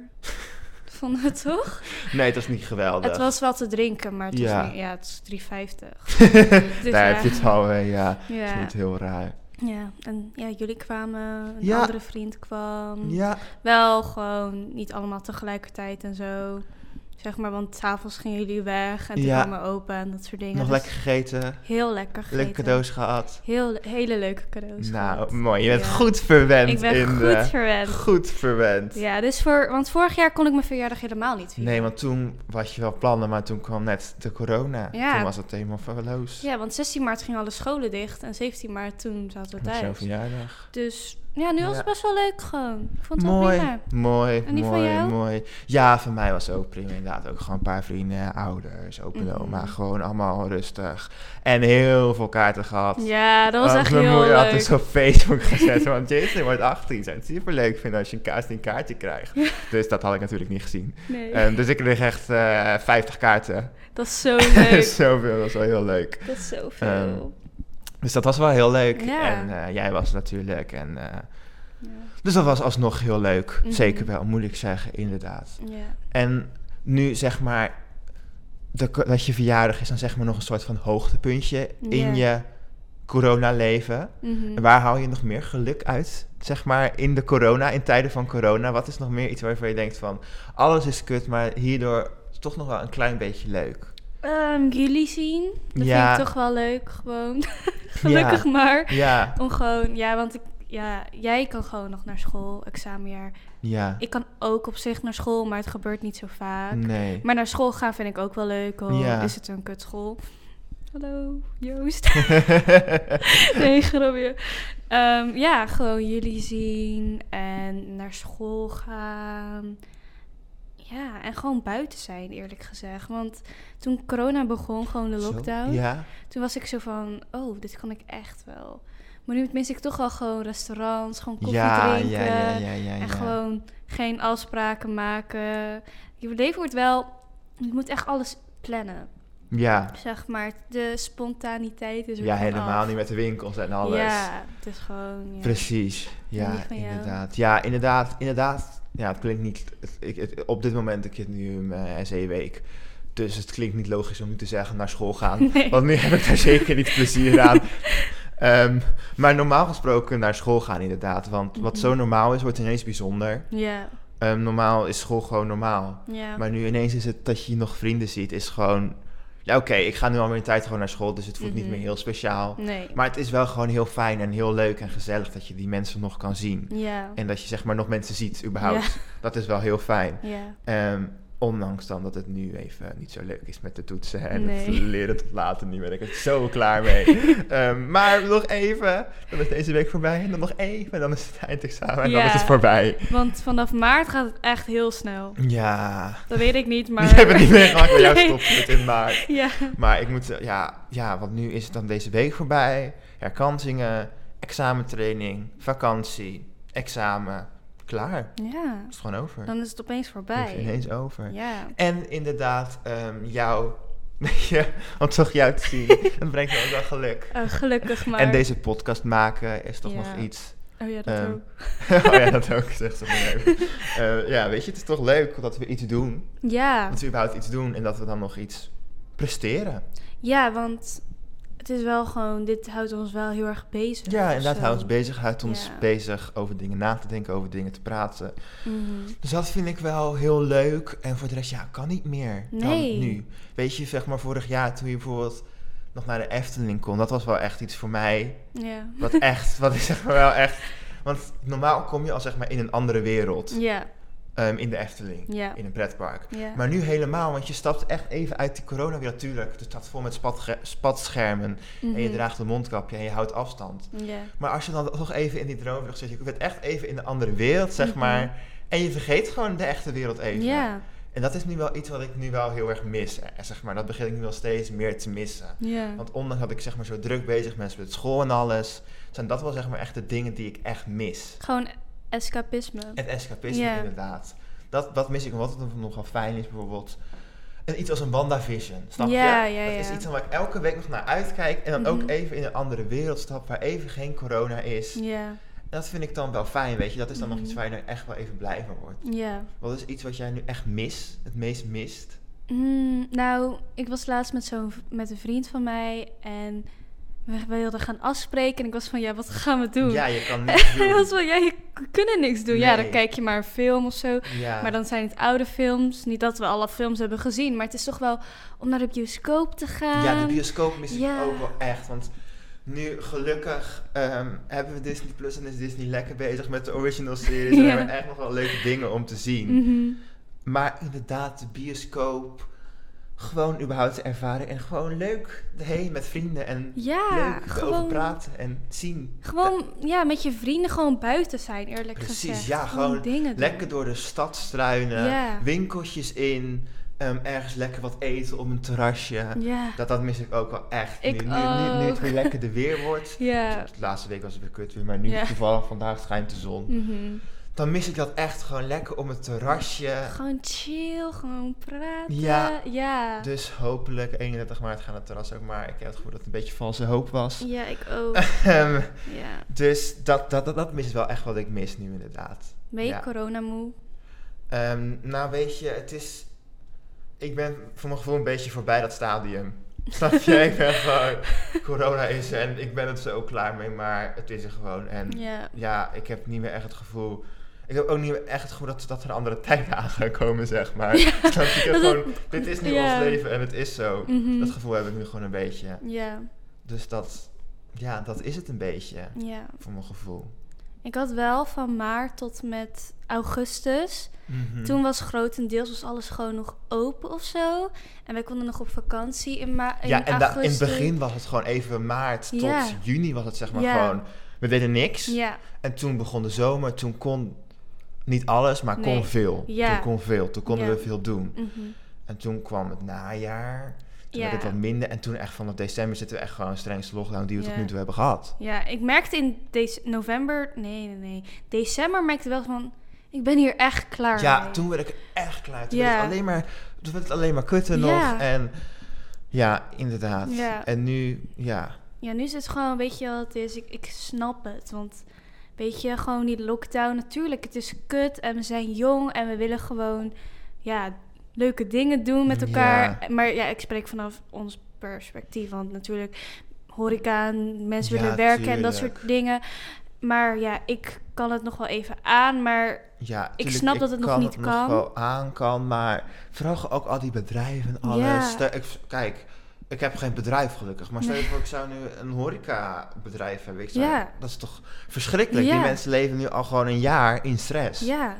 [SPEAKER 2] Vonden we toch?
[SPEAKER 1] Nee, het was niet geweldig.
[SPEAKER 2] Het was wel te drinken, maar het
[SPEAKER 1] Ja.
[SPEAKER 2] was niet, ja, het is 3,50.
[SPEAKER 1] Daar
[SPEAKER 2] dus
[SPEAKER 1] heb
[SPEAKER 2] ja.
[SPEAKER 1] je het al mee, ja. Het is
[SPEAKER 2] Ja.
[SPEAKER 1] niet heel raar.
[SPEAKER 2] ja. En ja, jullie kwamen, een
[SPEAKER 1] Ja.
[SPEAKER 2] andere vriend kwam.
[SPEAKER 1] Ja,
[SPEAKER 2] Wel gewoon niet allemaal tegelijkertijd en zo. Zeg maar, want s'avonds gingen jullie weg en toen
[SPEAKER 1] Ja.
[SPEAKER 2] kwamen we open en dat soort dingen.
[SPEAKER 1] nog
[SPEAKER 2] Dus
[SPEAKER 1] lekker gegeten.
[SPEAKER 2] Heel lekker gegeten.
[SPEAKER 1] Lekker cadeaus gehad.
[SPEAKER 2] Heel, hele leuke cadeaus. gehad.
[SPEAKER 1] Nou, mooi. Je bent
[SPEAKER 2] Ja.
[SPEAKER 1] goed verwend.
[SPEAKER 2] Ik ben
[SPEAKER 1] in
[SPEAKER 2] goed
[SPEAKER 1] de-
[SPEAKER 2] verwend.
[SPEAKER 1] Goed verwend.
[SPEAKER 2] Ja, dus voor, want vorig jaar kon ik mijn verjaardag helemaal niet vieren.
[SPEAKER 1] Nee, want toen was je wel plannen, maar toen kwam net de corona.
[SPEAKER 2] Ja.
[SPEAKER 1] Toen was het helemaal verloos.
[SPEAKER 2] Ja, want 16 maart gingen alle scholen dicht en 17 maart toen zaten we
[SPEAKER 1] Met jouw
[SPEAKER 2] thuis.
[SPEAKER 1] verjaardag.
[SPEAKER 2] Dus Ja, nu was het
[SPEAKER 1] Ja.
[SPEAKER 2] best wel leuk gewoon. Ik vond het wel
[SPEAKER 1] Mooi,
[SPEAKER 2] prima.
[SPEAKER 1] mooi,
[SPEAKER 2] En die van
[SPEAKER 1] mooi,
[SPEAKER 2] jou?
[SPEAKER 1] mooi. Ja, voor mij was het ook prima. Inderdaad, ook gewoon een paar vrienden, ouders, open
[SPEAKER 2] Mhm.
[SPEAKER 1] oma. Gewoon allemaal rustig. En heel veel kaarten gehad.
[SPEAKER 2] Ja, dat was
[SPEAKER 1] Want
[SPEAKER 2] echt
[SPEAKER 1] mijn
[SPEAKER 2] heel
[SPEAKER 1] moeder had
[SPEAKER 2] leuk.
[SPEAKER 1] dus op Facebook gezet, want Jason wordt 18. Zou het superleuk vinden als je een kaart een kaartje krijgt. Dus dat had ik natuurlijk niet gezien.
[SPEAKER 2] Nee,
[SPEAKER 1] Ehm, dus ik kreeg echt eh 50 kaarten.
[SPEAKER 2] dat is zo leuk.
[SPEAKER 1] Zoveel, dat was wel heel leuk.
[SPEAKER 2] dat is zoveel.
[SPEAKER 1] Dus dat was wel heel leuk.
[SPEAKER 2] Ja.
[SPEAKER 1] En eh, jij was natuurlijk. En, eh,
[SPEAKER 2] Ja.
[SPEAKER 1] dus dat was alsnog heel leuk.
[SPEAKER 2] Mhm.
[SPEAKER 1] Zeker wel, moet ik zeggen, inderdaad.
[SPEAKER 2] ja.
[SPEAKER 1] En nu zeg maar dat, dat je verjaardag is dan zeg maar nog een soort van hoogtepuntje in
[SPEAKER 2] Ja.
[SPEAKER 1] je coronaleven.
[SPEAKER 2] Mhm.
[SPEAKER 1] En waar haal je nog meer geluk uit? Zeg maar in de corona, in tijden van corona. Wat is nog meer iets waarvan je denkt van alles is kut, maar hierdoor is toch nog wel een klein beetje leuk.
[SPEAKER 2] Ehm, jullie zien. Dat
[SPEAKER 1] Ja.
[SPEAKER 2] vind ik toch wel leuk, gewoon. Gelukkig maar.
[SPEAKER 1] Ja,
[SPEAKER 2] Om gewoon, ja, want ik, ja, jij kan gewoon nog naar school, examenjaar.
[SPEAKER 1] ja.
[SPEAKER 2] Ik kan ook op zich naar school, maar het gebeurt niet zo vaak.
[SPEAKER 1] Nee.
[SPEAKER 2] Maar naar school gaan vind ik ook wel leuk, al
[SPEAKER 1] Ja.
[SPEAKER 2] is het een kutschool. Hallo, Joost. nee, grapje. Ehm, ja, gewoon jullie zien en naar school gaan. Ja, en gewoon buiten zijn, eerlijk gezegd. Want toen corona begon, gewoon de
[SPEAKER 1] Zo,
[SPEAKER 2] lockdown,
[SPEAKER 1] Ja.
[SPEAKER 2] toen was ik zo van, oh, dit kan ik echt wel. Maar nu mis ik toch al gewoon restaurants, gewoon koffie
[SPEAKER 1] Ja,
[SPEAKER 2] drinken.
[SPEAKER 1] ja, ja, ja, ja, ja.
[SPEAKER 2] En gewoon geen afspraken maken. Je leven wordt wel... Je moet echt alles plannen,
[SPEAKER 1] Ja,
[SPEAKER 2] zeg maar. De spontaniteit is er
[SPEAKER 1] ja
[SPEAKER 2] gewoon
[SPEAKER 1] helemaal
[SPEAKER 2] af.
[SPEAKER 1] niet met de winkels en alles.
[SPEAKER 2] Ja, het is gewoon... Ja.
[SPEAKER 1] Precies,
[SPEAKER 2] die
[SPEAKER 1] ja,
[SPEAKER 2] van jou.
[SPEAKER 1] inderdaad. Ja, inderdaad, inderdaad. Ja, het klinkt niet... het- ik, het- op dit moment, ik zit nu in mijn SE-week. Dus het klinkt niet logisch om nu te zeggen naar school gaan.
[SPEAKER 2] Nee.
[SPEAKER 1] Want nu heb ik daar zeker niet plezier aan. Ehm, maar normaal gesproken naar school gaan, inderdaad. Want wat zo
[SPEAKER 2] Mhm.
[SPEAKER 1] normaal is, wordt ineens bijzonder.
[SPEAKER 2] Ja,
[SPEAKER 1] Ehm, normaal is school gewoon normaal.
[SPEAKER 2] ja.
[SPEAKER 1] Maar nu ineens is het dat je nog vrienden ziet, is gewoon... Ja, oké, ik ga nu al mijn tijd gewoon naar school, dus het voelt
[SPEAKER 2] Mhm.
[SPEAKER 1] niet meer heel speciaal.
[SPEAKER 2] nee.
[SPEAKER 1] Maar het is wel gewoon heel fijn en heel leuk en gezellig dat je die mensen nog kan zien.
[SPEAKER 2] ja,
[SPEAKER 1] En dat je zeg maar nog mensen ziet, überhaupt. Dat is wel heel fijn.
[SPEAKER 2] ja.
[SPEAKER 1] Ehm, ondanks dan dat het nu even niet zo leuk is met de toetsen. En het
[SPEAKER 2] Nee.
[SPEAKER 1] leren tot later niet ben ik er zo klaar mee. Ehm, maar nog even, dan is deze week voorbij. En dan nog even, dan is het eindexamen en dan
[SPEAKER 2] Ja.
[SPEAKER 1] is het voorbij.
[SPEAKER 2] Want vanaf maart gaat het echt heel snel.
[SPEAKER 1] Ja,
[SPEAKER 2] Dat weet ik niet, maar...
[SPEAKER 1] ik heb het niet meegemaakt, maar jou
[SPEAKER 2] Nee.
[SPEAKER 1] stopt het in maart.
[SPEAKER 2] Ja,
[SPEAKER 1] Maar ik moet, eh, ja, ja, want nu is het dan deze week voorbij. Herkansingen, examentraining, vakantie, examen. Klaar.
[SPEAKER 2] ja.
[SPEAKER 1] Is het gewoon over.
[SPEAKER 2] Dan is het opeens
[SPEAKER 1] Is het
[SPEAKER 2] voorbij.
[SPEAKER 1] ineens over.
[SPEAKER 2] Ja.
[SPEAKER 1] En inderdaad, ehm jou. ja, want toch jou te zien. dat brengt me ook wel geluk.
[SPEAKER 2] Eh, gelukkig maar.
[SPEAKER 1] En deze podcast maken is toch
[SPEAKER 2] Ja.
[SPEAKER 1] nog iets.
[SPEAKER 2] Oh ja, dat
[SPEAKER 1] Ehm,
[SPEAKER 2] ook.
[SPEAKER 1] oh ja, dat ook. Zegt ze maar even. Eh, ja, weet je, het is toch leuk dat we iets doen.
[SPEAKER 2] Ja.
[SPEAKER 1] Dat we überhaupt iets doen en dat we dan nog iets presteren.
[SPEAKER 2] Ja, want het is wel gewoon, dit houdt ons wel heel erg bezig.
[SPEAKER 1] Ja,
[SPEAKER 2] of
[SPEAKER 1] inderdaad,
[SPEAKER 2] zo.
[SPEAKER 1] houdt ons bezig. Houdt ons
[SPEAKER 2] Ja.
[SPEAKER 1] bezig over dingen na te denken, over dingen te praten.
[SPEAKER 2] Mhm.
[SPEAKER 1] Dus dat vind ik wel heel leuk. En voor de rest, ja, kan niet meer
[SPEAKER 2] Nee.
[SPEAKER 1] dan nu. Weet je, zeg maar vorig jaar toen je bijvoorbeeld nog naar de Efteling kon. Dat was wel echt iets voor mij.
[SPEAKER 2] Ja.
[SPEAKER 1] Wat echt, wat is zeg maar wel echt... Want normaal kom je al zeg maar in een andere wereld.
[SPEAKER 2] Ja,
[SPEAKER 1] ehm, in de Efteling.
[SPEAKER 2] ja,
[SPEAKER 1] In een pretpark.
[SPEAKER 2] ja.
[SPEAKER 1] Maar nu helemaal, want je stapt echt even uit die coronawereld. Tuurlijk, de stad vol met spatge- spatschermen. En je
[SPEAKER 2] Mhm.
[SPEAKER 1] draagt een mondkapje en je houdt afstand.
[SPEAKER 2] Ja,
[SPEAKER 1] Maar als je dan toch even in die droomvlucht zit, je bent echt even in de andere wereld, zeg
[SPEAKER 2] Mhm.
[SPEAKER 1] maar. En je vergeet gewoon de echte wereld even.
[SPEAKER 2] ja,
[SPEAKER 1] En dat is nu wel iets wat ik nu wel heel erg mis. eh, Zeg maar. Dat begin ik nu wel steeds meer te missen.
[SPEAKER 2] ja.
[SPEAKER 1] Want ondanks dat ik zeg maar, zo druk bezig ben met school en alles, zijn dat wel zeg maar, echt de dingen die ik echt mis.
[SPEAKER 2] Gewoon escapisme.
[SPEAKER 1] Het escapisme
[SPEAKER 2] Ja.
[SPEAKER 1] inderdaad. Dat, dat mis ik, wat het nogal fijn is bijvoorbeeld. En iets als een WandaVision, snap
[SPEAKER 2] Ja,
[SPEAKER 1] je?
[SPEAKER 2] ja,
[SPEAKER 1] Dat is
[SPEAKER 2] ja.
[SPEAKER 1] iets waar ik elke week nog naar uitkijk. En dan ook
[SPEAKER 2] Mhm.
[SPEAKER 1] even in een andere wereld stap waar even geen corona is.
[SPEAKER 2] Ja,
[SPEAKER 1] Dat vind ik dan wel fijn, weet je. Dat is dan nog iets
[SPEAKER 2] Mhm.
[SPEAKER 1] waar je dan echt wel even blij van wordt.
[SPEAKER 2] ja.
[SPEAKER 1] Wat is iets wat jij nu echt mist? Het meest mist?
[SPEAKER 2] Mm, nou, ik was laatst met, zo'n, v- met een vriend van mij en we we wilden gaan afspreken. En ik was van, ja, wat gaan we doen?
[SPEAKER 1] Ja, je kan niks
[SPEAKER 2] Hij
[SPEAKER 1] doen.
[SPEAKER 2] was van, ja, je k- kunnen niks doen. Ja, dan
[SPEAKER 1] Nee.
[SPEAKER 2] kijk je maar een film of zo.
[SPEAKER 1] Ja.
[SPEAKER 2] Maar dan zijn het oude films. Niet dat we alle films hebben gezien, maar het is toch wel om naar de bioscoop te gaan.
[SPEAKER 1] ja, de bioscoop mis
[SPEAKER 2] ja.
[SPEAKER 1] ik ook wel echt. Want nu, gelukkig, ehm, hebben we Disney Plus en is Disney lekker bezig met de original series. En
[SPEAKER 2] Ja. Mm.
[SPEAKER 1] hebben we echt nog wel leuke dingen om te zien.
[SPEAKER 2] Mhm.
[SPEAKER 1] Maar inderdaad, de bioscoop. gewoon überhaupt te ervaren en gewoon leuk heen met vrienden en
[SPEAKER 2] Ja,
[SPEAKER 1] leuk erover
[SPEAKER 2] gewoon,
[SPEAKER 1] praten en zien.
[SPEAKER 2] gewoon ja, met je vrienden gewoon buiten zijn, eerlijk
[SPEAKER 1] Precies,
[SPEAKER 2] gezegd.
[SPEAKER 1] ja, gewoon
[SPEAKER 2] dingen doen.
[SPEAKER 1] Lekker eh, door de stad struinen,
[SPEAKER 2] Ja.
[SPEAKER 1] winkeltjes in, ehm, ergens lekker wat eten op een terrasje.
[SPEAKER 2] Ja,
[SPEAKER 1] Dat, dat mis ik ook wel echt.
[SPEAKER 2] Ik
[SPEAKER 1] nu, nu, nu, nu het
[SPEAKER 2] ook.
[SPEAKER 1] weer lekker de weer wordt.
[SPEAKER 2] ja.
[SPEAKER 1] De laatste week was het weer kut weer, maar nu
[SPEAKER 2] Ja.
[SPEAKER 1] toevallig vandaag schijnt de zon.
[SPEAKER 2] Mhm.
[SPEAKER 1] Dan mis ik dat echt gewoon lekker om het terrasje.
[SPEAKER 2] Gewoon chill, gewoon praten.
[SPEAKER 1] Ja.
[SPEAKER 2] ja.
[SPEAKER 1] Dus hopelijk 31 maart gaan het terras ook maar. Ik heb het gevoel dat het een beetje valse hoop was.
[SPEAKER 2] Ja, ik ook.
[SPEAKER 1] Ehm,
[SPEAKER 2] ja.
[SPEAKER 1] dus dat, dat, dat, dat mis wel echt wat ik mis nu inderdaad.
[SPEAKER 2] Ben je
[SPEAKER 1] Ja.
[SPEAKER 2] corona moe?
[SPEAKER 1] Ehm, nou weet je, het is... Ik ben voor mijn gevoel een beetje voorbij dat stadium. Snap je? ik ben gewoon... Corona is er en ik ben het zo klaar mee, maar het is er gewoon. En
[SPEAKER 2] Ja.
[SPEAKER 1] ja, ik heb niet meer echt het gevoel... Ik heb ook niet meer echt het gevoel dat, dat er andere tijden aan gaan komen, zeg maar.
[SPEAKER 2] Ja,
[SPEAKER 1] Snap je? Ik heb
[SPEAKER 2] dat het-
[SPEAKER 1] gewoon, dit is nu
[SPEAKER 2] ja.
[SPEAKER 1] ons leven en het is zo.
[SPEAKER 2] Mhm.
[SPEAKER 1] Dat gevoel heb ik nu gewoon een beetje.
[SPEAKER 2] Ja,
[SPEAKER 1] Dus dat, ja, dat is het een beetje,
[SPEAKER 2] ja.
[SPEAKER 1] voor mijn gevoel.
[SPEAKER 2] Ik had wel van maart tot met augustus.
[SPEAKER 1] Mhm.
[SPEAKER 2] Toen was grotendeels was alles gewoon nog open of zo. En wij konden nog op vakantie in, ma in
[SPEAKER 1] ja, en da- in het
[SPEAKER 2] augustus.
[SPEAKER 1] begin was het gewoon even maart tot
[SPEAKER 2] Ja.
[SPEAKER 1] juni was het zeg maar
[SPEAKER 2] Ja.
[SPEAKER 1] gewoon. We deden niks.
[SPEAKER 2] Ja,
[SPEAKER 1] En toen begon de zomer. Toen kon niet alles, maar kon
[SPEAKER 2] Nee.
[SPEAKER 1] veel.
[SPEAKER 2] Ja.
[SPEAKER 1] Toen kon veel. Toen konden
[SPEAKER 2] Ja.
[SPEAKER 1] we veel doen.
[SPEAKER 2] mhm.
[SPEAKER 1] En toen kwam het najaar. Toen
[SPEAKER 2] Ja.
[SPEAKER 1] werd het wat minder. En toen echt vanaf december zitten we echt gewoon de strengste lockdown die we tot
[SPEAKER 2] Ja.
[SPEAKER 1] nu toe hebben gehad.
[SPEAKER 2] ja, ik merkte in dec- november, nee, nee, nee, december merkte ik wel van, ik ben hier echt klaar
[SPEAKER 1] Ja,
[SPEAKER 2] mee.
[SPEAKER 1] toen werd ik er echt klaar. Toen,
[SPEAKER 2] Ja.
[SPEAKER 1] werd, het alleen maar, toen werd het alleen maar kutten
[SPEAKER 2] Ja.
[SPEAKER 1] nog. En ja, inderdaad.
[SPEAKER 2] Ja.
[SPEAKER 1] En nu, ja.
[SPEAKER 2] Ja, nu is het gewoon, weet je wat het is? Ik, ik snap het. Want weet je, gewoon die lockdown. Natuurlijk, het is kut en we zijn jong en we willen gewoon ja, leuke dingen doen met elkaar. Maar ja, ik spreek vanaf ons perspectief. Want natuurlijk, horeca, en mensen
[SPEAKER 1] Ja,
[SPEAKER 2] willen werken en dat
[SPEAKER 1] tuurlijk.
[SPEAKER 2] soort dingen. Maar ja, ik kan het nog wel even aan. Maar
[SPEAKER 1] Ja,
[SPEAKER 2] Ik snap dat het nog niet
[SPEAKER 1] het
[SPEAKER 2] kan.
[SPEAKER 1] wel aan kan, maar vooral ook al die bedrijven en alles.
[SPEAKER 2] Ja.
[SPEAKER 1] Stel- ik, kijk, ik heb geen bedrijf gelukkig, maar stel je voor ik zou nu een horecabedrijf hebben. Ik zou,
[SPEAKER 2] Ja.
[SPEAKER 1] Dat is toch verschrikkelijk?
[SPEAKER 2] Ja.
[SPEAKER 1] Die mensen leven nu al gewoon een jaar in stress.
[SPEAKER 2] ja.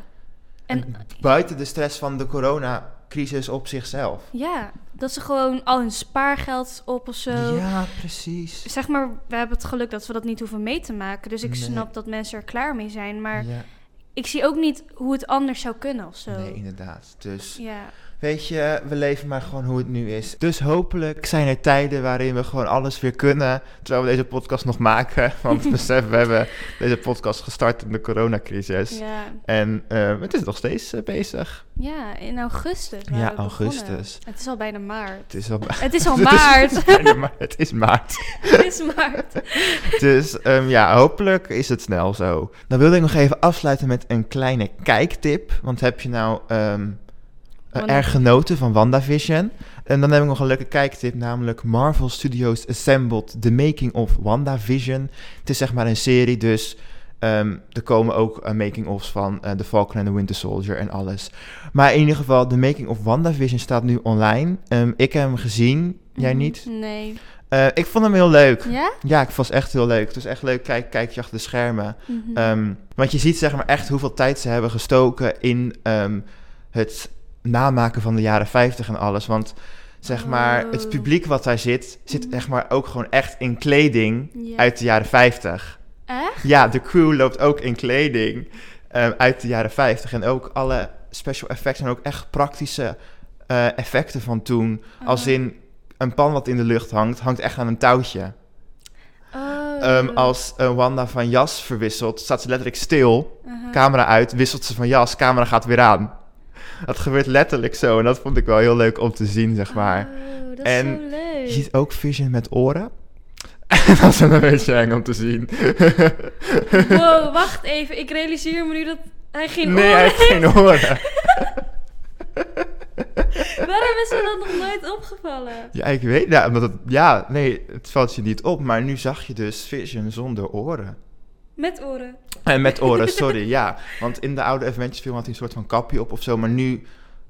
[SPEAKER 2] En
[SPEAKER 1] Buiten de stress van de coronacrisis op zichzelf.
[SPEAKER 2] ja, dat ze gewoon al hun spaargeld op of zo.
[SPEAKER 1] Ja, precies.
[SPEAKER 2] zeg maar, we hebben het geluk dat we dat niet hoeven mee te maken. Dus ik
[SPEAKER 1] Nee.
[SPEAKER 2] snap dat mensen er klaar mee zijn. Maar
[SPEAKER 1] Ja.
[SPEAKER 2] ik zie ook niet hoe het anders zou kunnen of zo.
[SPEAKER 1] Nee, inderdaad. Dus
[SPEAKER 2] Ja,
[SPEAKER 1] weet je, we leven maar gewoon hoe het nu is. Dus hopelijk zijn er tijden waarin we gewoon alles weer kunnen. Terwijl we deze podcast nog maken. Want besef, we hebben deze podcast gestart in de coronacrisis.
[SPEAKER 2] ja,
[SPEAKER 1] En eh, het is nog steeds eh, bezig.
[SPEAKER 2] ja in augustus.
[SPEAKER 1] Ja,
[SPEAKER 2] waren we begonnen.
[SPEAKER 1] augustus.
[SPEAKER 2] Het is al bijna maart.
[SPEAKER 1] Het is al, ma-
[SPEAKER 2] Het is al
[SPEAKER 1] Het is-
[SPEAKER 2] maart.
[SPEAKER 1] bijna ma- het is maart.
[SPEAKER 2] Het is maart.
[SPEAKER 1] Dus ehm, ja, hopelijk is het snel zo. Dan wilde ik nog even afsluiten met een kleine kijktip. Want heb je nou ehm, eh,
[SPEAKER 2] Wanda-
[SPEAKER 1] erg genoten van WandaVision? En dan heb ik nog een leuke kijktip, namelijk Marvel Studios Assembled The Making of WandaVision. Het is zeg maar een serie, dus ehm, er komen ook eh, making-ofs van eh, The Falcon and the Winter Soldier en alles. Maar in ieder geval, de making of WandaVision staat nu online. Ehm, ik heb hem gezien,
[SPEAKER 2] Mhm.
[SPEAKER 1] jij niet?
[SPEAKER 2] Nee.
[SPEAKER 1] Eh, ik vond hem heel leuk.
[SPEAKER 2] Ja?
[SPEAKER 1] Ja, ik vond het echt heel leuk. Het was echt leuk, kijk, kijk je achter de schermen.
[SPEAKER 2] Mhm.
[SPEAKER 1] Ehm, want je ziet zeg maar echt hoeveel tijd ze hebben gestoken in ehm, het namaken van de jaren 50 en alles. Want zeg maar, het
[SPEAKER 2] Oh.
[SPEAKER 1] publiek wat daar zit, zit
[SPEAKER 2] Mhm.
[SPEAKER 1] zeg maar ook gewoon echt in kleding
[SPEAKER 2] ja.
[SPEAKER 1] uit de jaren 50.
[SPEAKER 2] Echt?
[SPEAKER 1] Ja, de crew loopt ook in kleding ehm, uit de jaren 50. En ook alle special effects en ook echt praktische eh, effecten van toen. Als
[SPEAKER 2] Oh.
[SPEAKER 1] in een pan wat in de lucht hangt, hangt echt aan een touwtje.
[SPEAKER 2] Oh.
[SPEAKER 1] Ehm, als eh, Wanda van jas verwisselt, staat ze letterlijk stil.
[SPEAKER 2] Aha.
[SPEAKER 1] Camera uit, wisselt ze van jas, camera gaat weer aan. Dat gebeurt letterlijk zo en dat vond ik wel heel leuk om te zien, zeg maar.
[SPEAKER 2] Oh, dat
[SPEAKER 1] En
[SPEAKER 2] is zo leuk.
[SPEAKER 1] Je ziet ook Vision met oren. dat is een beetje eng om te zien.
[SPEAKER 2] Wow, wacht even. Ik realiseer me nu dat hij geen
[SPEAKER 1] nee,
[SPEAKER 2] oren
[SPEAKER 1] hij heeft geen oren.
[SPEAKER 2] Waarom is me dat nog nooit opgevallen?
[SPEAKER 1] Ja, ik weet ja, omdat het, ja, nee, het valt je niet op, maar nu zag je dus Vision zonder oren.
[SPEAKER 2] Met oren.
[SPEAKER 1] En met oren, sorry, ja. Want in de oude Avengers film had hij een soort van kapje op of zo. Maar nu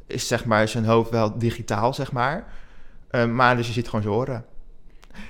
[SPEAKER 1] is zeg maar zijn hoofd wel digitaal, zeg maar. Eh, maar dus je ziet gewoon zijn oren.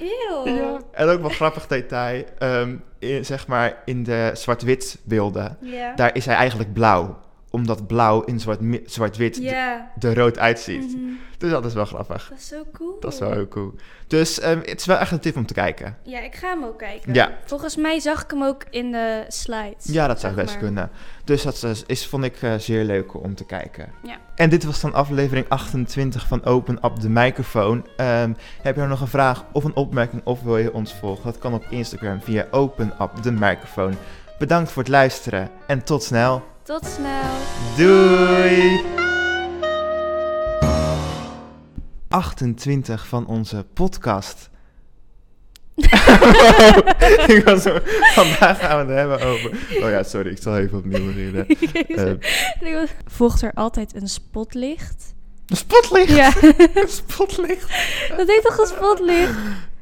[SPEAKER 2] Eeuw.
[SPEAKER 1] Ja. En ook wel grappig detail. ehm, in, zeg maar in de zwart-wit beelden,
[SPEAKER 2] Ja.
[SPEAKER 1] daar is hij eigenlijk blauw. omdat blauw in zwart mi- zwart-wit d-
[SPEAKER 2] Ja.
[SPEAKER 1] er rood uitziet.
[SPEAKER 2] mhm.
[SPEAKER 1] Dus dat is wel grappig.
[SPEAKER 2] Dat is zo cool.
[SPEAKER 1] Dat is wel heel cool. Dus ehm, het is wel echt een tip om te kijken.
[SPEAKER 2] Ja, ik ga hem ook kijken.
[SPEAKER 1] Ja.
[SPEAKER 2] Volgens mij zag ik hem ook in de slides.
[SPEAKER 1] Ja, dat zou
[SPEAKER 2] zeg
[SPEAKER 1] best
[SPEAKER 2] maar.
[SPEAKER 1] kunnen. Dus dat is, is, vond ik eh, zeer leuk om te kijken.
[SPEAKER 2] Ja.
[SPEAKER 1] En dit was dan aflevering 28 van Open Up de Microfoon. Ehm, heb je nou nog een vraag of een opmerking of wil je ons volgen? Dat kan op Instagram via Open Up de Microfoon. Bedankt voor het luisteren en tot snel.
[SPEAKER 2] Tot snel.
[SPEAKER 1] Doei! 28 van onze podcast. ik was zo, vandaag gaan we het hebben over. Oh ja, sorry, ik zal even opnieuw beginnen. Eh,
[SPEAKER 2] Volgt er altijd een spotlicht?
[SPEAKER 1] een spotlicht!
[SPEAKER 2] Ja,
[SPEAKER 1] Een spotlicht!
[SPEAKER 2] dat heet toch een spotlicht?